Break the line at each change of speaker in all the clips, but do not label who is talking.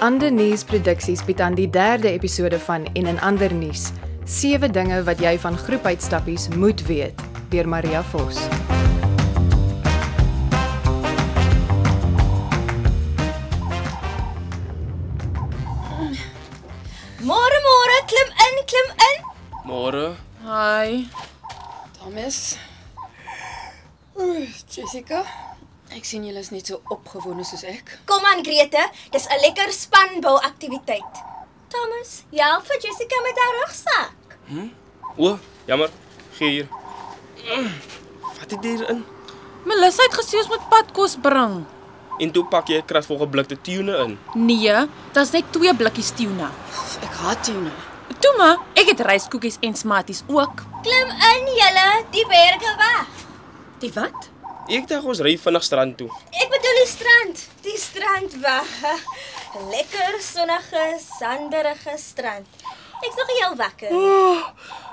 Hande Nuus Produksies bied aan die derde episode van En 'n ander nuus. Sewe dinge wat jy van groepuitstappies moet weet deur Maria Vos.
Môre môre, klim in, klim in.
Môre.
Hi.
Thomas. Oeh, Jessica. Ek sien julle is net so opgewonde soos ek.
Kom aan Grete, dis 'n lekker spanbou aktiwiteit. Thomas, jy help vir Jessica met haar rugsak.
O, jammer. Gee hier. Mm, Vat dit hier in.
Melissa het gesê ons moet padkos bring.
En toe pak jy 'n krasvol geblikte tune in.
Nee, dit's net twee blikkies tuna.
Pff, Ek haat nou. tuna.
Toe maar, ek het ryskoekies en smaties ook.
Klim in julle, die berge weg.
Die wat?
Ek dink ons ry vinnig strand toe.
Ek bedoel die strand, die strand weg. Lekker sonnige, sanderige strand. Ek's nog heel wakker.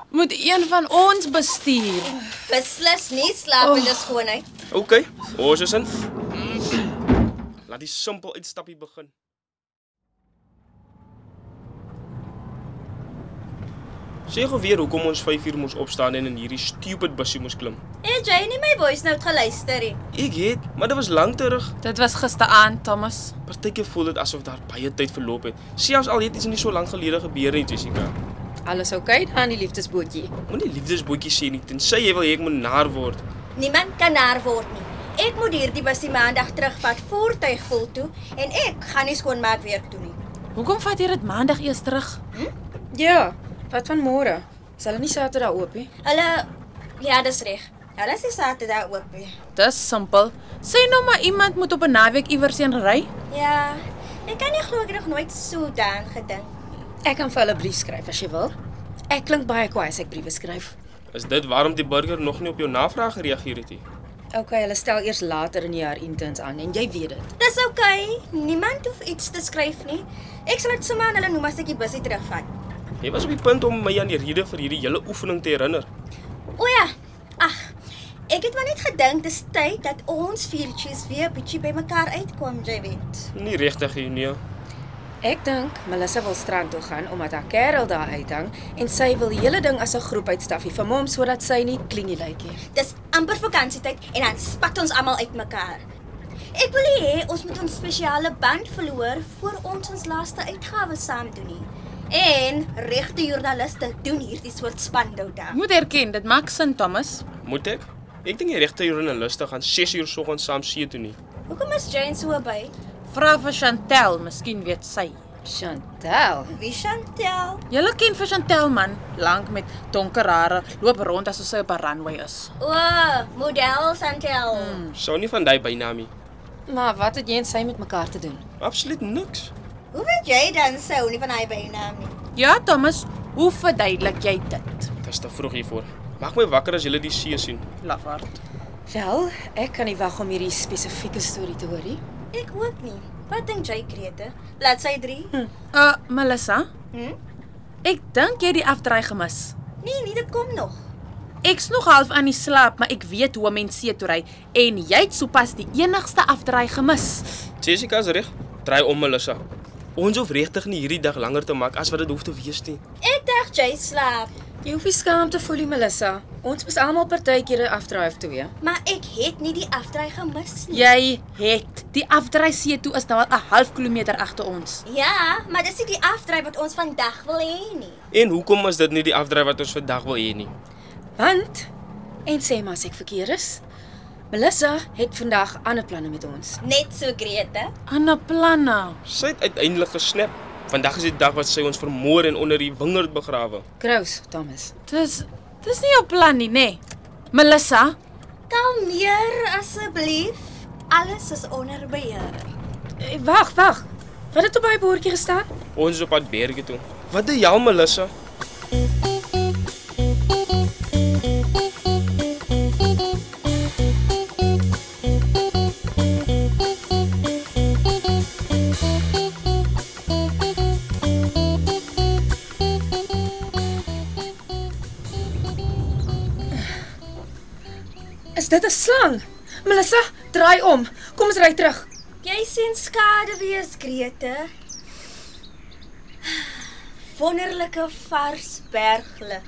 Moet een van ons bestuur.
Beslis nie slaap in die skoonheid.
OK, ons is in. Laat die simpel uitstappie begin. Sê gou weer hoekom ons 5 uur moes opstaan en in hierdie stupid busjie moes klim.
Het jy nie my voice note geluister nie?
Ek het, maar dit was lank terug.
Dit was gisteraand, Thomas.
Partykeer voel dit asof daar baie tyd verloop het. Selfs al het iets nie so lank gelede gebeur nie, Jessica.
Alles oukei okay, daar in die liefdesbootjie?
Moenie liefdesboetjie sê nie, tensy jy wil hê ek moet naar word.
Niemand kan haar word nie. Ek moet hierdie bussie maandag terugvat voertuig vol toe en ek gaan nie skoonmaak werk toe nie.
Hoekom vat jy dit maandag eers terug?
Ja. Wat van môre? Is hulle nie Saterdag oop nie?
Hulle ja, dis reg. Hulle is nie Saterdag oop nie.
Dis simpel. Sê nou maar iemand moet op 'n naweek iewers heen ry.
Ja, ek kan nie glo ek het nog nooit so daaraan gedink.
Ek kan vir hulle 'n brief skryf as jy wil. Ek klink baie kwaai as ek briewe skryf.
Is dit waarom die burger nog nie op jou navraag gereageer het nie?
Okay, hulle stel eers later in die jaar interns aan en jy weet dit.
Dis oukei. Okay. Niemand hoef iets te skryf nie. Ek sal dit sommer aan hulle noem as ek die bussie terugvat.
Jy was op die punt om my aan die rede vir hierdie hele oefening te herinner.
O ja. Ag. Ek het maar net gedink dis tyd dat ons viertjies weer bietjie bymekaar uitkom, jy weet.
Nie regtig nie, nee.
Ek dink Melissa wil strand toe gaan omdat haar kerel daar uithang en sy wil die hele ding as 'n groep uitstaffie vir hom sodat sy nie klinie lyk nie.
Dis amper vakansietyd en dan spat ons almal uitmekaar. Ek wil nie hê ons moet ons spesiale band verloor voor ons ons laaste uitgawe saam doen nie. En regte joernaliste doen hierdie soort spandou dan.
Moet erken, dit maak sin, Thomas.
Moet ek? Ek dink die regte joernaliste gaan 6 uur soggens saam see toe nie.
Hoekom is Jane so by?
Vra vir Chantel, miskien weet sy.
Chantel.
Wie Chantel?
Julle ken vir Chantel man, lank met donker hare, loop rond asof sy op 'n runway is.
O, model Chantel. Hmm.
Sou nie van daai bynaam nie.
Maar wat het jy en sy met mekaar te doen?
Absoluut niks.
Hoe weet jy dan sou nie van hy bynaam nie?
Ja, Thomas, hoe verduidelik jy dit?
Dit is te vroeg hiervoor. Maak my wakker as jy die see sien.
Lafaard.
Wel, ek kan nie wag om hierdie spesifieke storie te hoor nie.
Ek ook nie. Wat dink jy Krete? Bladsy 3? Hm.
Uh, Melissa,
hm?
ek dink jy het die afdraai gemis.
Nee, nee, dit kom nog.
Ek's nog half aan die slaap, maar ek weet hoe om mense see toe ry en jy het sopas die enigste afdraai gemis.
Jessica is reg. Draai om Melissa. Ons hoef regtig nie hierdie dag langer te maak as wat dit hoef te wees nie.
Ek dink jy slaap.
Jy hoef nie skaam te voel nie, Melissa. Ons was almal partykeer 'n afdraai of twee.
Maar ek het nie die afdraai gemis nie.
Jy het die afdraai see toe is nou al 'n half kilometer agter ons.
Ja, maar dis nie die afdraai wat ons vandag wil hê nie.
En hoekom is dit nie die afdryf wat ons vandag wil hê nie?
Want en sê maar as ek verkeerd is, Melissa het vandag ander planne met ons.
Net so Grete.
Ander planne.
Sy het uiteindelik gesnap. Vandag is die dag wat sy ons vermoor en onder die wingerd begrawe.
Kraus, Thomas.
Dis dis nie jou plan nie, nê? Nee. Melissa,
Kalmeer asseblief. Alles is onder beheer.
Eh, Wag, wag. Wat het op daai bordjie gestaan?
Ons is op pad berge toe. Wat doen jou Melissa?
Is dit 'n slang? Melissa, draai om. Kom ons ry terug.
Jy sien skade wees Grete. wonderlike vars berglig.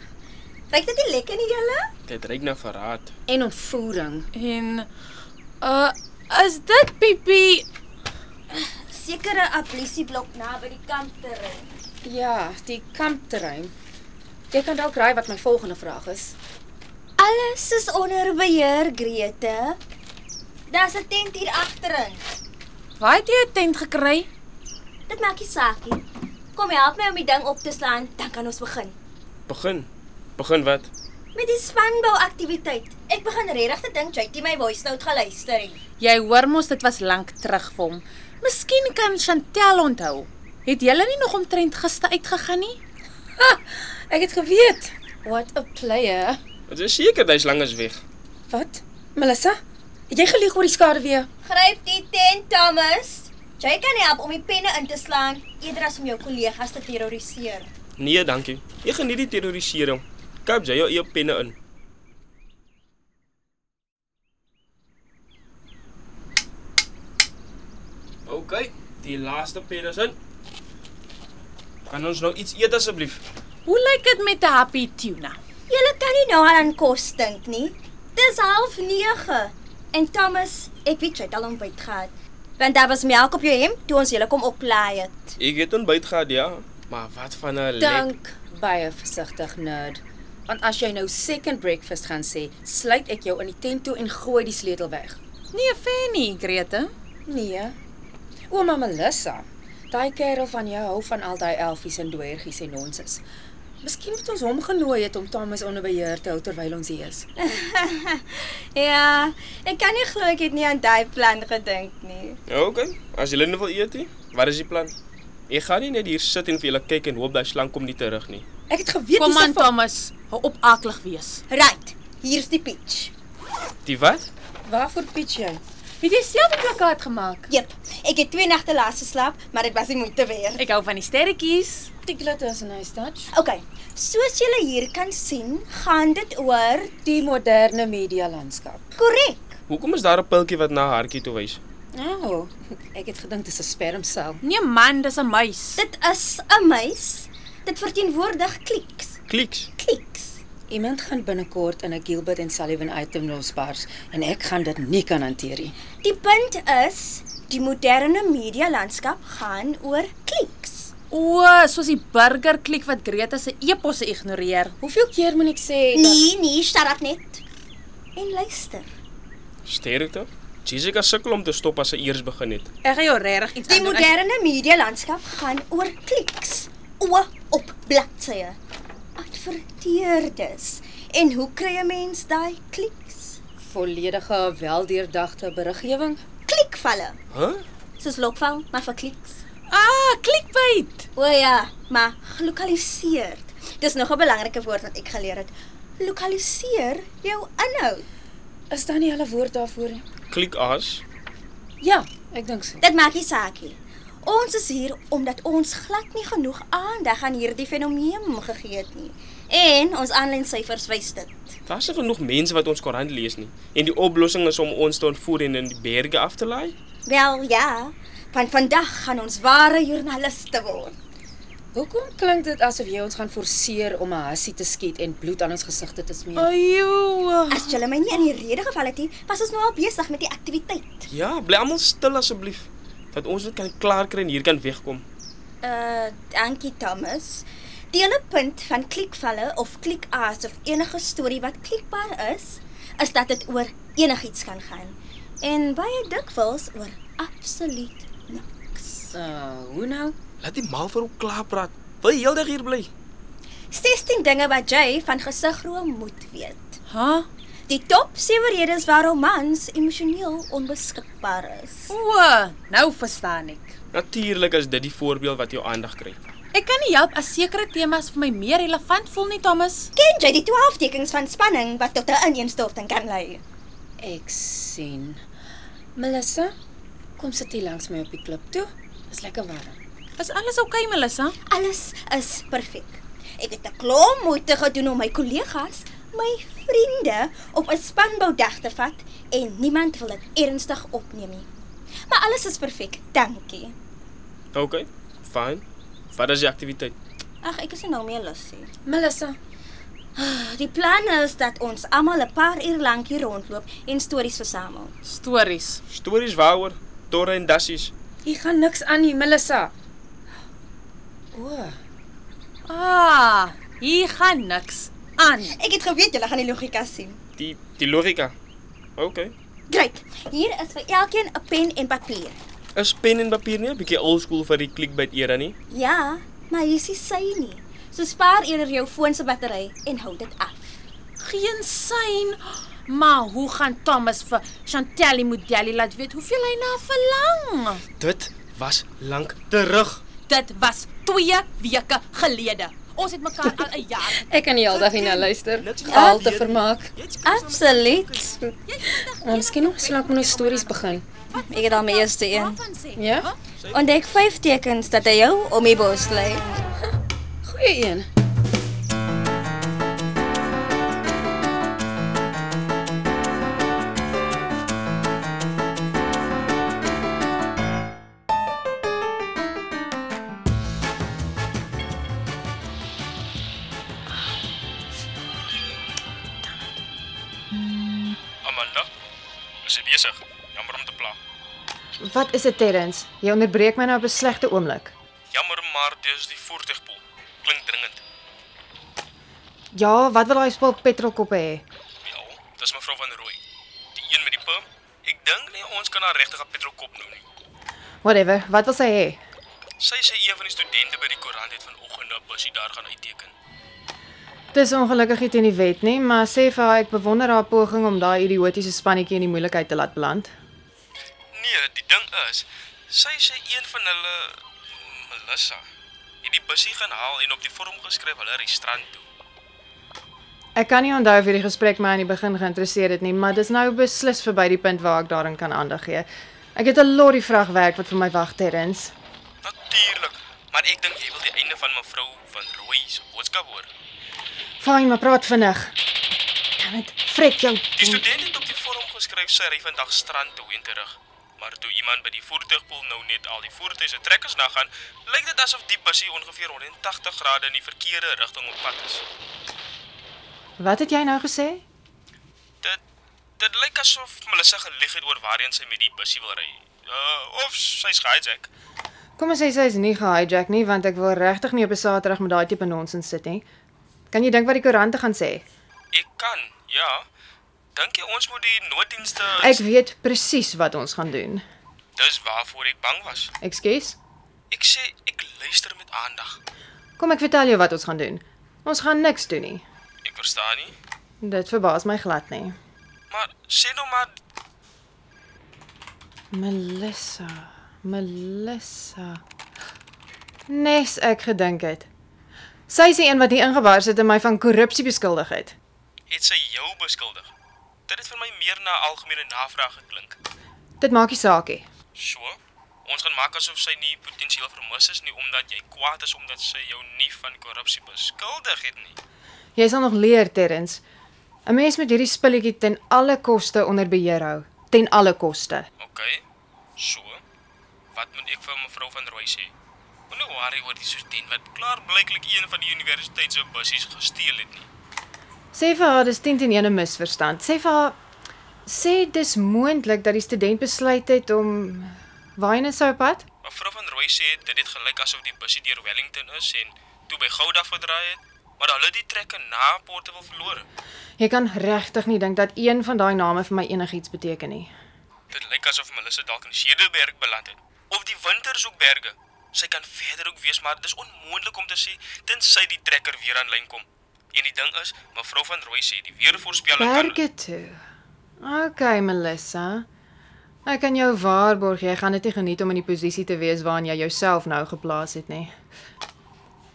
Kyk dit nie lekker nie julle?
Dit reuk na verraad.
en ontvoering.
En uh is dit Pipi?
Sekere ablisieblok naby die kampterrein.
Ja, die kampterrein. Jy kan dalk raai wat my volgende vraag is.
Alles is onder beheer, Grete. Daar's 'n tent hier agterin.
Waar het jy 'n tent gekry?
Dit maak nie saak nie. Kom help my om die ding op te slaan, dan kan ons begin.
Begin. Begin wat?
Met die spanbouaktiwiteit. Ek begin regtig te dink jy het nie my voice note geluister nie.
Jy hoor mos dit was lank terug vir hom. Miskien kan Chantel onthou. Het julle nie nog omtrent gister uitgegaan nie?
Ek het geweet. What a player.
Dit is seker hy's lankens weg.
Wat? Melissa, het jy gelieg oor die skaduwee?
Gryp die tent, Thomas. Jy kan help om die penne in te slaan eerder as om jou kollegas te terroriseer.
Nee, dankie. Jy geniet die terrorisering. Kap jy jou eie penne in. OK, die laaste penne is in. Kan ons nou iets eet asseblief?
Hoe lyk dit met 'n happy tuna?
Julle kan nie nou aan kos dink nie. Dis 09:30. En Thomas, ek weet jy het al ontbyt gehad. Want daar was melk op jou hemp toe ons julle kom oplaai het.
Ek het ontbyt gehad, ja, maar wat van 'n lek?
Dank baie versigtig, nerd. Want as jy nou second breakfast gaan sê, sluit ek jou in die tent toe en gooi die sleutel weg.
Nee, Fanny, Grete.
Nee. Ouma Melissa, daai kerel van jou hou van al daai elfies en doergies en nonsens. Miskien moet ons hom genooi het om Thomas onder beheer te hou terwyl ons hier is.
Ja, ek kan nie glo ek het nie aan daai plan gedink nie.
OK, as julle nou wil eet, hè, wat is die plan? Ek gaan nie net hier sit en vir julle kyk en hoop daai slang kom nie terug nie.
Ek het geweet
Kom
dis 'n
aan
fa-
Thomas, hou op aklig wees.
Right, hier's die peach.
Die wat?
Waarvoor pitch jy?
Het jy self 'n plakkaat gemaak?
Jep, ek het twee nagte laas geslaap, maar dit was nie moeite werd.
Ek hou van die sterretjies.
Die glitter is 'n nice touch.
OK, soos julle hier kan sien, gaan dit oor
Die moderne media landskap.
korrek.
Hoekom is daar 'n pultjie wat na haar hartjie toe wys?
Nou, ek het gedink dis 'n spermsel.
Nee man, dis 'n muis.
Dit is 'n muis. Dit verteenwoordig kliks,
Kliks.
kliks.
Iemand gaan binnekort in 'n Gilbert en Sullivan item losbars en ek gaan dit nie kan hanteer nie.
Die punt is, die moderne media landskap gaan oor kliks.
O, soos die burgerklik wat Grete se eposse ignoreer.
Hoeveel keer moet ek sê dat
Nee, nee, staat dat net. En luister.
Sterkte. Jessica sukkel om te stop as sy eers begin het.
Ek gaan jou regtig iets
Die
aandoen as-
moderne media landskap gaan oor kliks. O op bladsye. Adverteerders. En hoe kry 'n mens daai kliks?
volledige weldeurdagte beriggewing?
Klikvalle.
Hæ? Huh?
Soos lokval, maar vir kliks.
Ah, clickbait.
O ja, maar gelokaliseer. Dis nog 'n belangrike woord wat ek geleer het. Lokaliseer jou inhoud.
Is daar nie 'n woord daarvoor nie?
Klik as.
Ja, ek dink so.
Dit maak nie saak nie. Ons is hier omdat ons glad nie genoeg aandag aan hierdie fenomeen gegee het nie. En ons aanlyn syfers wys dit.
Daar's nie genoeg mense wat ons koerant lees nie. En die oplossing is om ons te ontvoer en in die berge af te laai.
Wel ja, van vandag gaan ons ware joernaliste word.
Hoekom klink dit asof jy ons gaan forceer om 'n hassie te skiet en bloed aan ons gesigte te smeer?
Ajoe.
As julle my nie in die rede geval het nie, was ons nou al besig met die aktiwiteit.
Ja, bly almal stil asseblief. Dat ons dit kan klaar kry en hier kan wegkom.
Uh, dankie Thomas. Die hele punt van klikvalle of klikaas of enige storie wat klikbaar is, is dat dit oor enigiets kan gaan. En baie dikwels oor absoluut niks.
Uh, hoe nou?
Laat die mal vir hom klaar praat. Wil jy heeldag hier bly?
16 dinge wat jy van gesigroom moet weet.
Ha?
Die top 7 redes waarom mans emosioneel onbeskikbaar is.
O, nou verstaan ek.
Natuurlik is dit die voorbeeld wat jou aandag kry.
Ek kan nie help as sekere temas vir my meer relevant voel nie, Thomas.
Ken jy die 12 tekens van spanning wat tot 'n ineenstorting kan lei?
Ek sien. Melissa, kom sit hier langs my op die klip toe. Is lekker warm.
Is alles oukei, okay, Melissa?
Alles is perfek. Ek het 'n klomp moeite gedoen om my kollegas, my vriende op 'n spanboudag te vat en niemand wil dit ernstig opneem nie. Maar alles is perfek, dankie.
OK. Fyn. Wat is die aktiwiteit?
Ag, ek is nie nou meer lus nie. Ah,
Melissa,
Die plan is dat ons almal 'n paar uur lank hier rondloop en stories versamel.
Stories.
Stories waaroor torre en dassies.
hier gaan niks aan nie, Melissa. O,
Ah, hier gaan niks aan.
Ek het geweet julle gaan die logika sien.
Die die logika. OK.
Great. Hier is vir elkeen 'n pen en papier.
Is pen en papier nie 'n bietjie old school vir die clickbait era nie?
Ja, maar hier is nie sy nie. So spaar eerder jou foon se battery en hou dit af.
Geen sein. Maar hoe gaan Thomas vir Chantel Modeli laat weet hoeveel hy na verlang?
Dit was lank terug.
Dit was 2 weke gelede. Ons het mekaar al 'n jaar.
ek kan nie heeldag hierna luister.
Niks
Al Ja, te
gebeur nie.
vermaak.
Absoluut.
Maar miskien ons laat met ons stories begin.
Ek het al my eerste een.
Waarvan sê?
Ja?
Ontdek 5 tekens dat hy jou om die bos lei.
Goeie een.
Amanda, is jy besig? Jammer om te pla.
Wat is dit, Terrence? Jy onderbreek my nou op 'n slegte oomblik.
Jammer maar dis die voertuigpoel. Klink dringend.
Ja, wat wil daai spul petrolkoppe hê?
Ja, dis mevrou van Rooi. Die een met die perm. Ek dink nie ons kan haar regtig op petrolkop noem nie.
Whatever, wat wil sy hê?
Sy sê een van die studente by die koerant het vanoggend 'n busie daar gaan uitteken.
Dis ongelukkig nie teen die wet nie, maar sê vir haar ek bewonder haar poging om daai idiotiese spannetjie in die moeilikheid te laat beland.
Nee, die ding is, sy sê een van hulle Melissa het die busie gaan haal en op die vorm geskryf hulle ry strand toe.
Ek kan nie onthou of hierdie gesprek my aan die begin geïnteresseer het nie, maar dis nou beslis verby die punt waar ek daaraan kan aandag gee. Ek het 'n lorry vragwerk wat vir my wag, Terrence.
Natuurlik, maar ek dink jy wil die einde van mevrou van Rooi se boodskap hoor.
Fyn, maar praat vinnig. Damn it, fret jou.
Die student het op die vorm geskryf sy ry vandag strand toe en terug. Maar toe iemand by die voertuigpool nou net al die voertuie se trekkers nagaan, lyk dit asof die busie ongeveer 180 grade in die verkeerde rigting op pad is.
Wat het jy nou gesê?
Dit dit lyk asof Melissa gelieg het oor waarheen sy met die busie wil ry. Uh of sy's gehijack.
Kom ons sê sy is nie gehijack nie, want ek wil regtig nie op 'n Saterdag met daai tipe nonsens sit nie. Kan jy dink wat die koerante gaan sê?
Ek kan, ja. Dink jy ons moet die nooddienste
Ek weet presies wat ons gaan doen.
Dis waarvoor ek bang was.
Ekskuus.
Ek sê ek luister met aandag.
Kom ek vertel jou wat ons gaan doen. Ons gaan niks doen nie.
Ek verstaan nie,
Dit verbaas my glad nie.
maar sê nou maar
Melissa, Melissa. Nes ek gedink het. Sy is die een wat hier ingebaar sit en my van korrupsie beskuldig het.
het sy jou beskuldig. Dit het vir my meer na algemene navraag geklink.
Dit maak nie saak nie.
So, ons gaan maak asof sy nie potensieel vermis is nie omdat jy kwaad is omdat sy jou nie van korrupsie beskuldig het nie.
Jy sal nog leer, Terrence. 'n Mens moet hierdie spulletjie ten alle koste onder beheer hou, ten alle koste.
OK. So, wat moet ek vir mevrou van Rooi sê? Moenie worry oor die student wat klaar blyklik een van die universiteit se bussies gesteel het nie.
Sê vir haar dis 10 teen 1 'n misverstand. Sê vir haar sê dis moontlik dat die student besluit het om waarheen hy sou pad?
Mevrou van Rooi sê dit het gelyk asof die bussie deur Wellington is en toe by Gouda verdraai het, maar hulle het die trekke na Portugal verloor.
Jy kan regtig nie dink dat een van daai name vir my enigiets beteken nie.
Dit lyk asof Melissa dalk in Cederberg beland het of die Wintersoekberge. Sy kan verder ook wees, maar dis onmoontlik om te sê tensy die trekker weer aanlyn kom. En die ding is, mevrou van Rooi sê die weervoorspelling kan
Berge toe. Okay, Melissa. Ek kan jou waarborg jy gaan dit nie geniet om in die posisie te wees waarin jy jouself nou geplaas het nie.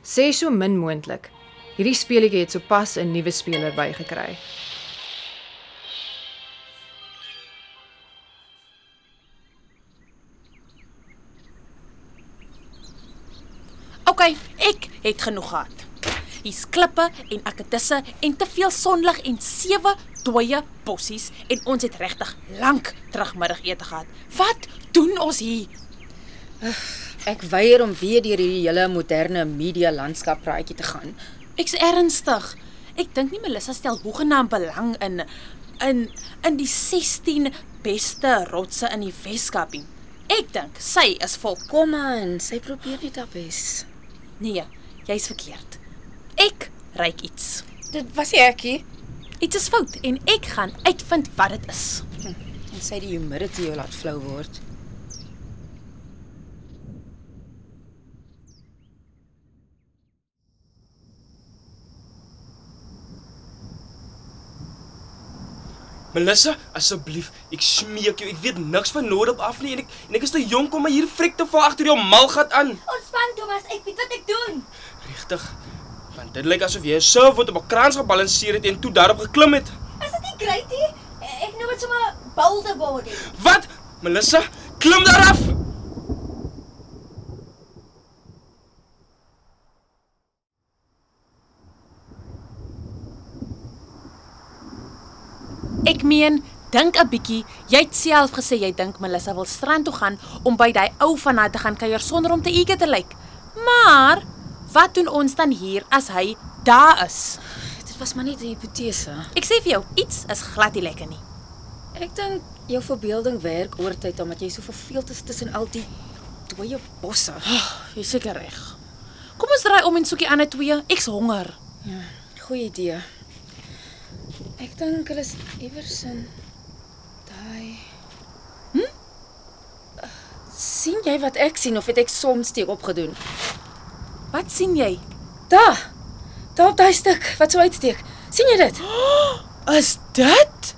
Sê so min moontlik. Hierdie speletjie het sopas 'n nuwe speler bygekry.
OK, ek het genoeg gehad. Hier's klippe en akkedisse en te veel sonlig en sewe dooie bossies en ons het regtig lank terugmiddagete gehad. Wat doen ons hier?
Ek weier om weer deur hierdie hele moderne media landskap praatjie te gaan.
Ek's ernstig. Ek dink nie Melissa stel hoegenaamd belang in in in die 16 beste rotse in die Weskaap nie. Ek dink sy is vol.
Kom aan, sy probeer net haar bes.
Nee, jy's verkeerd. Ek ryk iets.
Dit was nie ekkie.
Iets is fout en ek gaan uitvind wat dit is.
En sy het die humidity jou laat flou word.
Melissa, asseblief, ek smeek jou, ek weet niks van Noordop af nie en ek en ek is te jonk om my hier frik te val agter jou malgat aan.
Ontspan Thomas, ek weet wat ek doen.
Regtig? Want dit lyk asof jy 'n surfboot op 'n kraans gebalanseer het en toe daarop geklim het.
Is dit nie great nie? Ek noem dit sommer boulderboarding.
Wat? Melissa, klim daaraf.
Ek meen, dink 'n bietjie. Jy het self gesê jy dink Melissa wil strand toe gaan om by daai ou van haar te gaan kuier sonder om te eager te lyk. Maar wat doen ons dan hier as hy daar is?
Dit was maar net 'n hipotese.
Ek sê vir jou, iets is glad nie lekker nie.
Ek dink jou verbeelding werk oortyd omdat jy so verveeld is tussen al die dooie bosse.
Jy Ah, seker reg. Kom ons ry om en soek die ander twee. Ek's honger.
Goeie idee. Ek dink hulle is iewers in daai Hm? Eh, sien jy wat ek sien of het ek soms steek opgedoen?
Wat sien jy?
Daar. Daar op daai stuk wat so uitsteek. sien jy dit?
Is dit?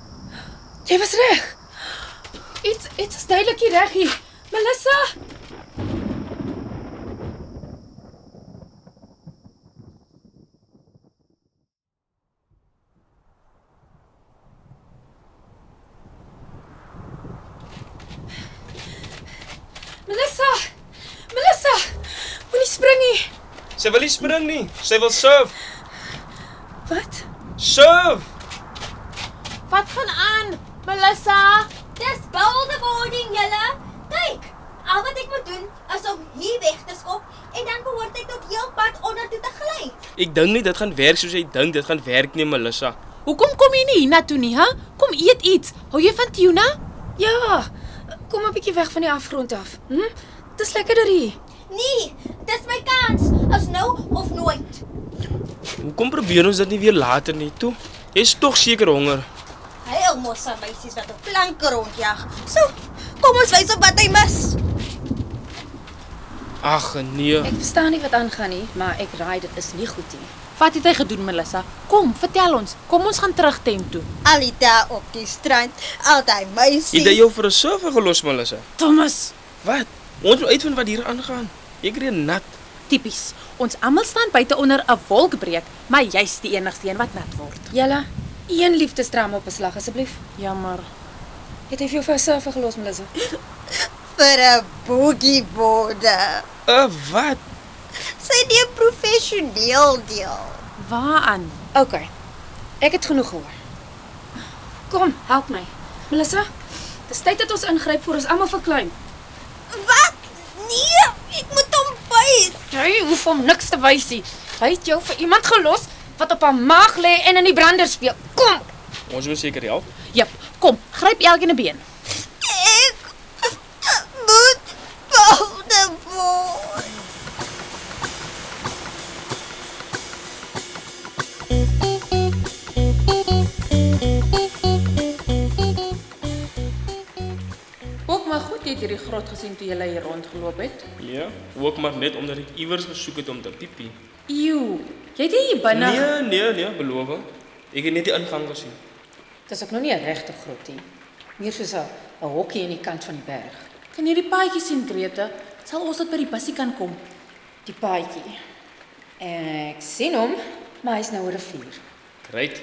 Jy was reg. Iets iets is duidelik hier reg hier. Melissa, Melissa. Melissa, moenie spring nie.
Sy wil nie spring nie. Sy wil surf.
Wat?
Surf.
Wat gaan aan? Melissa,
Dis boulderboarding julle. Kyk, al wat ek moet doen is om hier weg te skop en dan behoort ek tot heel pad onder toe te gly.
Ek dink nie dit gaan werk soos jy dink dit gaan werk nie, Melissa.
hoekom kom jy nie hiernatoe nie, hè? Kom eet iets. Hou jy van tuna?
Ja, kom 'n bietjie weg van die afgrond af. Hm? Dis lekkerder hier.
Nee, dis my kans. Is nou of nooit.
Hoekom probeer ons dit nie weer later nie, toe? Jy's tog seker honger.
Heel mos aan meisies wat op planke rondjag. So, kom ons wys op wat hy mis.
Ag nee.
Ek verstaan nie wat aangaan nie, maar ek raai dit is nie goed nie.
Wat het hy gedoen, Melissa? Kom, vertel ons. Kom ons gaan terug tent toe.
Al die daar op die strand, al daai meisies.
Het jy jou vir 'n surfer gelos, Melissa?
Thomas,
Wat? Ons moet uitvind wat hier aangaan. Ek reën nat.
tipies. Ons almal staan buite onder 'n wolkbreek, maar jy's die enigste een wat nat word.
Julle, een liefdesdram op 'n slag asseblief.
Jammer.
Het hy vir jou vir jouself gelos, Melissa?
vir 'n boogie boarder.
Uh, wat?
Sy neem professioneel deel.
Waaraan?
OK. Ek het genoeg gehoor. Kom, help my. Melissa, dis tyd dat ons ingryp voor ons almal verklein.
Wat? Nee, ek moet hom byt.
Jy hoef hom niks te wys nie. Hy het jou vir iemand gelos wat op haar maag lê en in die brander speel. Kom.
Ons moet seker help.
Jep, kom, gryp elkeen 'n been.
Ek moet boude word.
Ook maar goed jy het hierdie grot gesien toe jy hier rondgeloop het.
Ja, ook maar net omdat ek iewers gesoek het om te piepie.
Ew, jy het hier binne.
Nee, nee, nee, beloof. Ek het net die ingang gesien.
Dis ook nog nie 'n regte grot nie. Meer soos 'n 'n hokkie aan die kant van die berg.
Kan jy die paadjie sien, Grete? Sal ons dit by die bussie kan kom?
Die paadjie. Ek sien hom, maar hy's nou oor 'n vuur.
Great.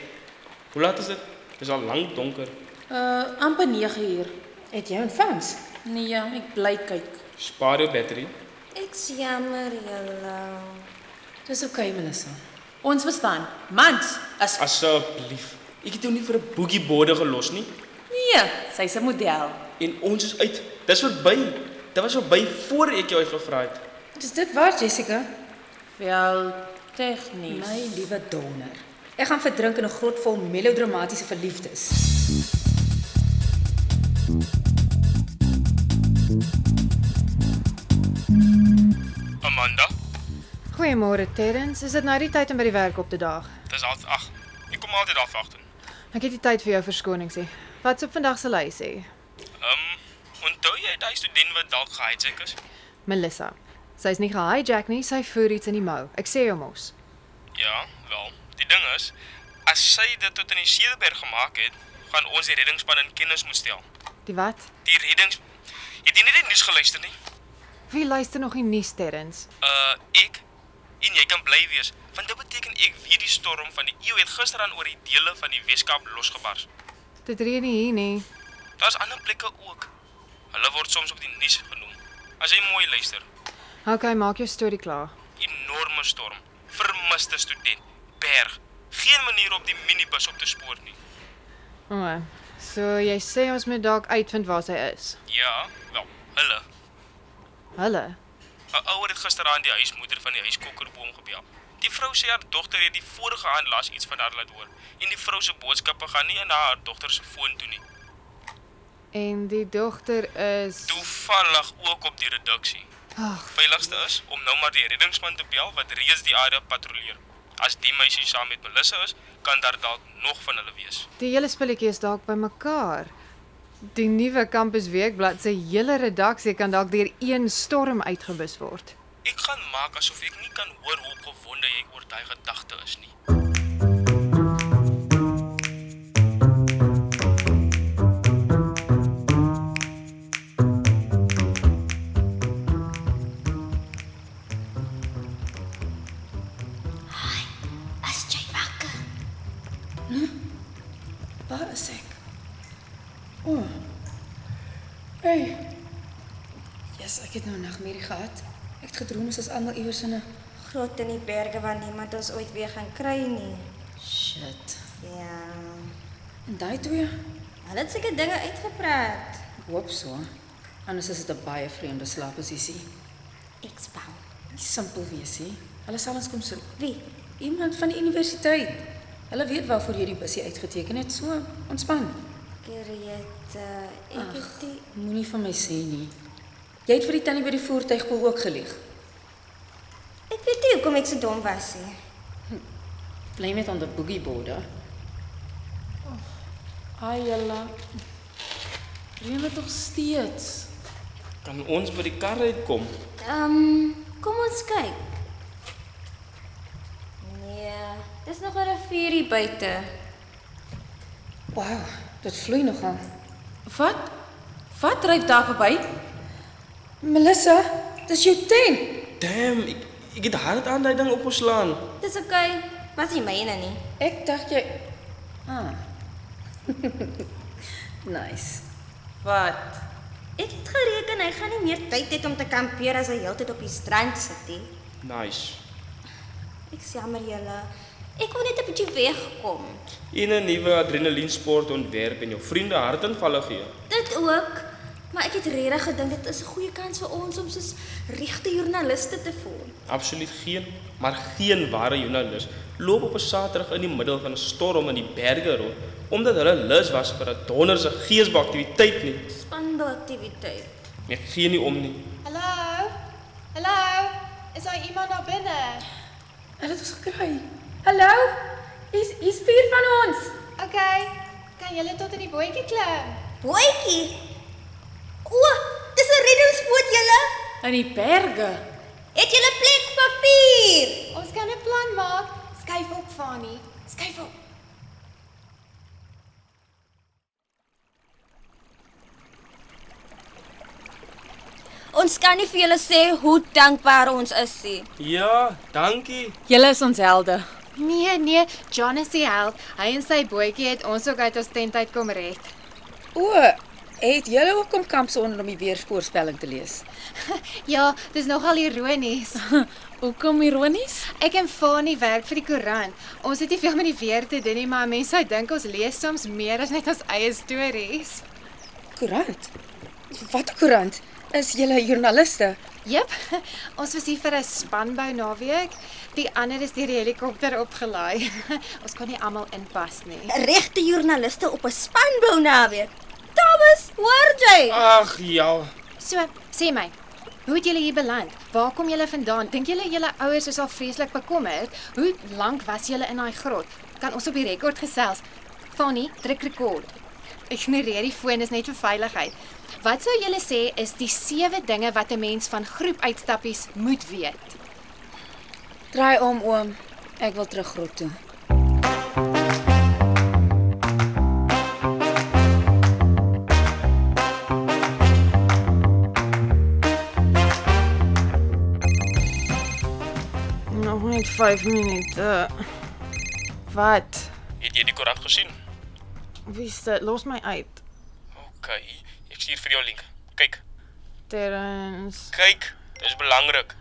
Hoe laat is dit? Dit is al lank donker.
Uh, amper 9 uur.
Het jy ontvangs?
Nee,
ja,
ek bly kyk.
Spaar jou battery.
Ek's jammer julle.
Dis oké, okay, Melissa.
Ons verstaan. Mans, as
Asseblief. Ek het jou nie vir 'n boogie borde gelos nie.
nee, sy's 'n model.
En ons is uit. Dis verby. Dit was verby voor ek jou gevra het.
Dis dit waar Jessica?
Wel, tegnies.
My liewe donder. Ek gaan verdrink in 'n grot vol melodramatiese verliefdes.
Amanda,
Goeiemôre Terrence, is dit nou die tyd om by die werk op te daag?
dis half 8. Ek kom altyd half 8 in.
Ek het nie tyd vir jou verskoningsie. Wat's op vandag se lys hê?
Ehm, onthou jy daai student wat dalk gehijack is?
Melissa. Sy's nie gehijack nie, sy voer iets in die mou. Ek sê jou mos.
Ja, wel. Die ding is, as sy dit tot in die Cederberg gemaak het, gaan ons die reddingspan in kennis moet stel.
Die wat?
Die reddings Het jy nie die nuus geluister nie?
Wie luister nog nie nuus Terrence?
Uh, ek en jy kan bly wees, want dit beteken ek weet die storm van die eeu het gisteraan oor die dele van die Weskaap losgebars.
Dit reën nie hier nie.
Daar's ander plekke ook. Hulle word soms op die nuus genoem. As jy mooi luister,
Okay, maak jou storie klaar.
enorme storm, vermiste student, berg, geen manier om die minibus op te spoor nie.
O. Oh, so jy sê ons moet dalk uitvind waar sy is.
Ja, wel, hulle.
Hulle.
'n Ouer het gisteraand die huismoeder van die huiskokkerboom gebel. Die vrou sê haar dogter het die vorige aand laas iets van haar laat hoor en die vrou se boodskappe gaan nie aan haar dogter se foon toe nie.
En die dogter is
Toevallig ook op die reduksie.
Ag,
Veiligste is om nou maar die reddingsman te bel wat reeds die area patrolleer. As die meisie saam met Melissa is, kan daar dalk nog van hulle wees.
die hele spulletjie is dalk bymekaar. Die nuwe kampus weekblad se hele redaksie kan dalk deur een storm uitgebus word.
Ek gaan maak asof ek nie kan hoor hoe opgewonde jy oor daai gedagte is nie.
As jy wakker.
Waar is ek? O. Oh. Hey. Yes, ek het nou 'n nagmerrie gehad. Ek het gedroom ons is almal iewers in 'n
Groot in die berge waar niemand ons ooit weer gaan kry nie.
shit.
Ja.
En daai twee?
Hulle het seker dinge uitgepraat.
Ek hoop so. Anders is dit 'n baie vreemde slaapposisie.
Ek's bang.
Nie simpel wees nie. Hulle sal ons kom soek.
Wie?
Iemand van die universiteit. Hulle weet waarvoor jy die busie uitgeteken het. So, ontspan.
Gereed. Uh, ek het die
Moenie van my sê nie. Jy het vir die tannie by die voertuigpool ook gelieg.
Ek weet nie hoekom ek so dom was nie.
Blame it on the boogie board. hè?
Ayela. Reën dit nog steeds.
Kan ons by die kar uitkom?
Ehm, kom ons kyk. Nee, dis nog 'n rivier hier buite.
Wow, dit vloei nogal.
Wat? Wat dryf daar verby?
Melissa, dis jou tent.
Damn, ek ek het hard aan daai ding op geslaan.
Dis oké. Okay. Was nie myne nie.
Ek dacht jy Ah. nice.
Wat?
Ek het gereken hy gaan nie meer tyd hê om te kampeer as hy heeltyd op die strand sit nie.
Nice.
Ek is jammer julle. Ek wou net 'n bietjie wegkom.
In 'n nuwe adrenalinsport ontwerp en jou vriende hartaanvalle gee.
Dit ook, maar ek het regtig gedink dit is 'n goeie kans vir ons om soos regte joernaliste te voel.
Absoluut geen, maar geen ware joernalis loop op 'n Saterdag in die middel van 'n storm in die berge rond omdat hulle lus was vir 'n donderse geesbeaktiwiteit nie.
Spanbou aktiwiteit.
Ek gee nie om nie.
Hallo? Hallo? Is daar iemand daar binne?
Hulle het ons gekry. Hallo? Hier's hier's vier van ons.
OK. Kan julle tot in die bootjie klim?
Boetjie. O, dis 'n reddingsboot julle.
In die berge.
Het julle plek vir vier?
Ons kan 'n plan maak. Skuif op, Fani. Skuif op.
Ons kan nie vir julle sê hoe dankbaar ons is nie.
Ja, dankie.
Julle is ons helde.
Nee, nee, John is die held. Hy en sy bootjie het ons ook uit ons tent uit kom red.
O, het julle ook kom kamp sonder om die weervoorspelling te lees?
Ja, dis nogal ironies.
Hoekom ironies?
Ek en Fani werk vir die koerant. Ons het nie veel met die weer te doen nie, maar mense sou dink ons lees soms meer as net ons eie stories.
Koerant. Wat 'n koerant. Is julle joernaliste?
Jep. Ons was hier vir 'n spanbou naweek. Die ander is deur die helikopter opgelaai. Ons kon nie almal inpas nie.
Regte joernaliste op 'n spanbou naweek. Thomas, hoor jy?
Ag ja.
So, sê my, hoe het julle hier beland? Waar kom julle vandaan? Dink julle julle ouers is al vreeslik bekommerd? Hoe lank was julle in daai grot? Kan ons op die rekord gesels? Fanny, druk rekord. Ignoreer die foon, is net vir veiligheid. Wat sou julle sê is die sewe dinge wat 'n mens van groepuitstappies moet weet?
Draai om oom. Ek wil terug grot toe.
Nog Nou, net 5 minute. Wat?
Het jy die koerant gesien?
Wie is dit? Los my uit.
OK, ek stuur vir jou link. Kyk,
Terrens.
kyk, dis belangrik.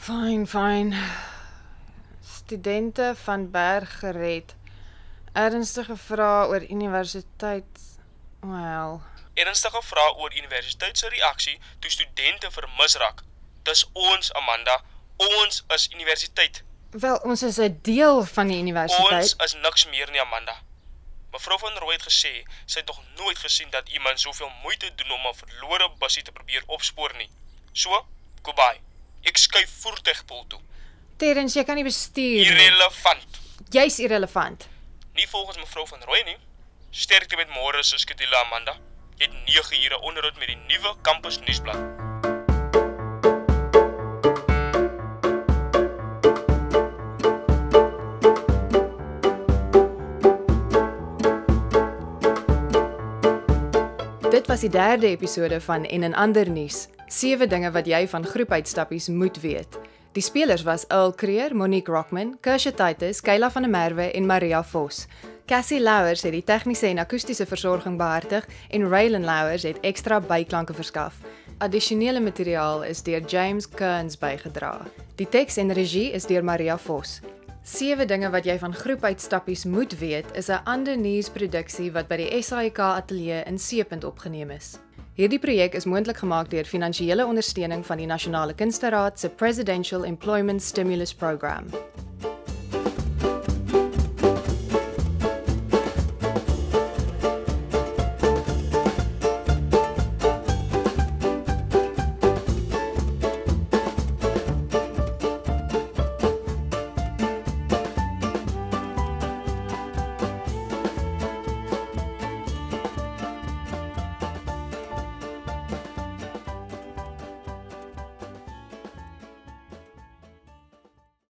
Fyn, fyn. Studente van Berg gered. Ernstige vrae oor universiteit. Wel.
Ernstige vrae oor universiteit se reaksie toe studente vermis raak. Dis ons Amanda, ons is universiteit.
Wel, ons is 'n deel van die
Ons
universiteit.
is niks meer nie Amanda. Mevrou van Rooi het gesê sy het nog nooit gesien dat iemand soveel moeite doen om 'n verlore bussie te probeer opspoor nie. So, goodbye. Ek skuif voertuigpool toe.
Terrens, jy kan nie bestuur nie.
Irrelevant.
Jy's irrelevant.
Nie volgens mevrou van Rooi nie. Sterkte met môre se skedule Amanda. Jy het 9 ure onderhoud met die nuwe kampus nuusblad.
Dit was die derde episode van En en ander nuus. Sewe dinge wat jy van groepuitstappies moet weet. Die spelers was Earl Creer, Monique Rockman, Kersha Titus, Kayla van der Merwe en Maria Vos. Cassie Louwers het die tegniese en akoestiese versorging behartig en Raylan Louwers het ekstra byklanke verskaf. Addisionele materiaal is deur James Kearns bygedra. Die teks en regie is deur Maria Vos. Sewe dinge wat jy van groepuitstappies moet weet is 'n ander nuusproduksie wat by die SAIK ateljee in Seepunt opgeneem is. Hierdie projek is moontlik gemaak deur finansiële ondersteuning van die Nasionale Kunsteraad se Presidential Employment Stimulus Program.